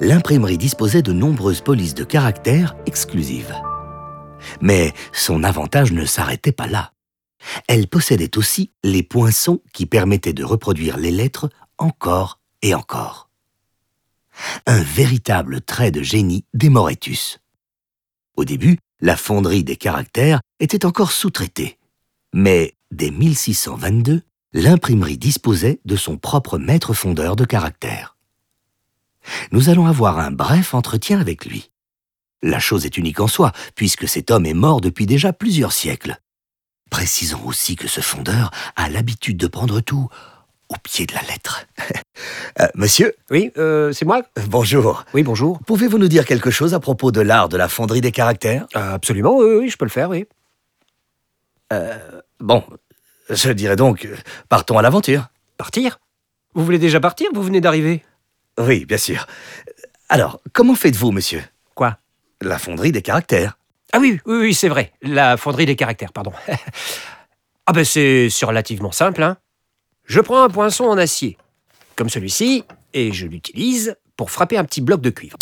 l'imprimerie disposait de nombreuses polices de caractères exclusives. Mais son avantage ne s'arrêtait pas là. Elle possédait aussi les poinçons qui permettaient de reproduire les lettres encore et encore. Un véritable trait de génie des Moretus. Au début, la fonderie des caractères était encore sous-traitée. Mais dès 1622, l'imprimerie disposait de son propre maître fondeur de caractères. Nous allons avoir un bref entretien avec lui. La chose est unique en soi, puisque cet homme est mort depuis déjà plusieurs siècles. Précisons aussi que ce fondeur a l'habitude de prendre tout au pied de la lettre. Euh, monsieur, Oui, euh, c'est moi bonjour. Oui, bonjour. Pouvez-vous nous dire quelque chose à propos de l'art de la fonderie des caractères Euh, absolument, oui, oui, je peux le faire, oui. Bon, je dirais donc, euh, partons à l'aventure. Partir Vous voulez déjà partir Vous venez d'arriver Oui, bien sûr. Alors, comment faites-vous, monsieur Quoi La fonderie des caractères. Ah oui, oui, oui, c'est vrai. La fonderie des caractères, pardon. ah ben c'est c'est relativement simple, hein. Je prends un poinçon en acier, comme celui-ci, et je l'utilise pour frapper un petit bloc de cuivre,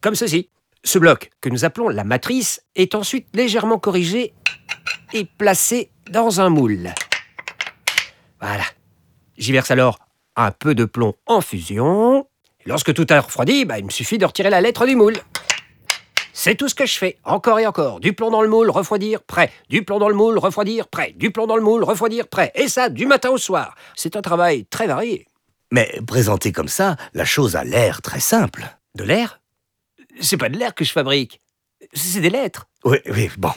comme ceci. Ce bloc, que nous appelons la matrice, est ensuite légèrement corrigé et placé dans un moule. Voilà. J'y verse alors un peu de plomb en fusion. Lorsque tout a refroidi, bah, il me suffit de retirer la lettre du moule. C'est tout ce que je fais, encore et encore. Du plomb dans le moule, refroidir, prêt. Du plomb dans le moule, refroidir, prêt. Du plomb dans le moule, refroidir, prêt. Et ça, du matin au soir. C'est un travail très varié. Mais présenté comme ça, la chose a l'air très simple. De l'air C'est pas de l'air que je fabrique. C'est des lettres. Oui, oui, bon.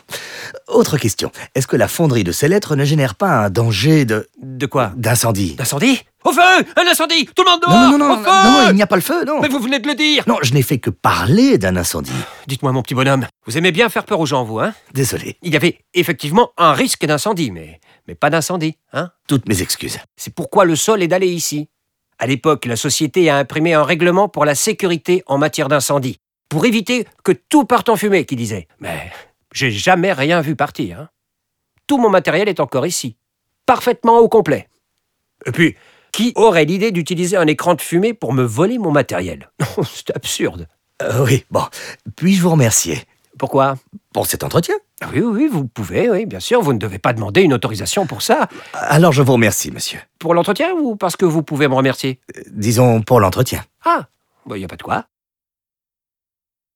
Autre question. Est-ce que la fonderie de ces lettres ne génère pas un danger de... De quoi d'incendie D'incendie Au feu Un incendie Tout le monde dehors Non, non, non, Au non, feu non, non, il n'y a pas le feu, non. Mais vous venez de le dire Non, je n'ai fait que parler d'un incendie. Dites-moi, mon petit bonhomme, vous aimez bien faire peur aux gens, vous, hein Désolé. Il y avait effectivement un risque d'incendie, mais, mais pas d'incendie, hein Toutes mes excuses. C'est pourquoi le sol est d'aller ici. À l'époque, la société a imprimé un règlement pour la sécurité en matière d'incendie, pour éviter que tout parte en fumée, qui disait. Mais j'ai jamais rien vu partir. hein. Tout mon matériel est encore ici, parfaitement au complet. Et puis, qui aurait l'idée d'utiliser un écran de fumée pour me voler mon matériel Non, c'est absurde. Euh, oui, bon. Puis-je vous remercier Pourquoi pour cet entretien Ah Oui, oui, vous pouvez, oui, bien sûr, vous ne devez pas demander une autorisation pour ça. Alors je vous remercie, monsieur. Pour l'entretien ou parce que vous pouvez me remercier Euh, Disons pour l'entretien. Ah, il n'y a pas de quoi.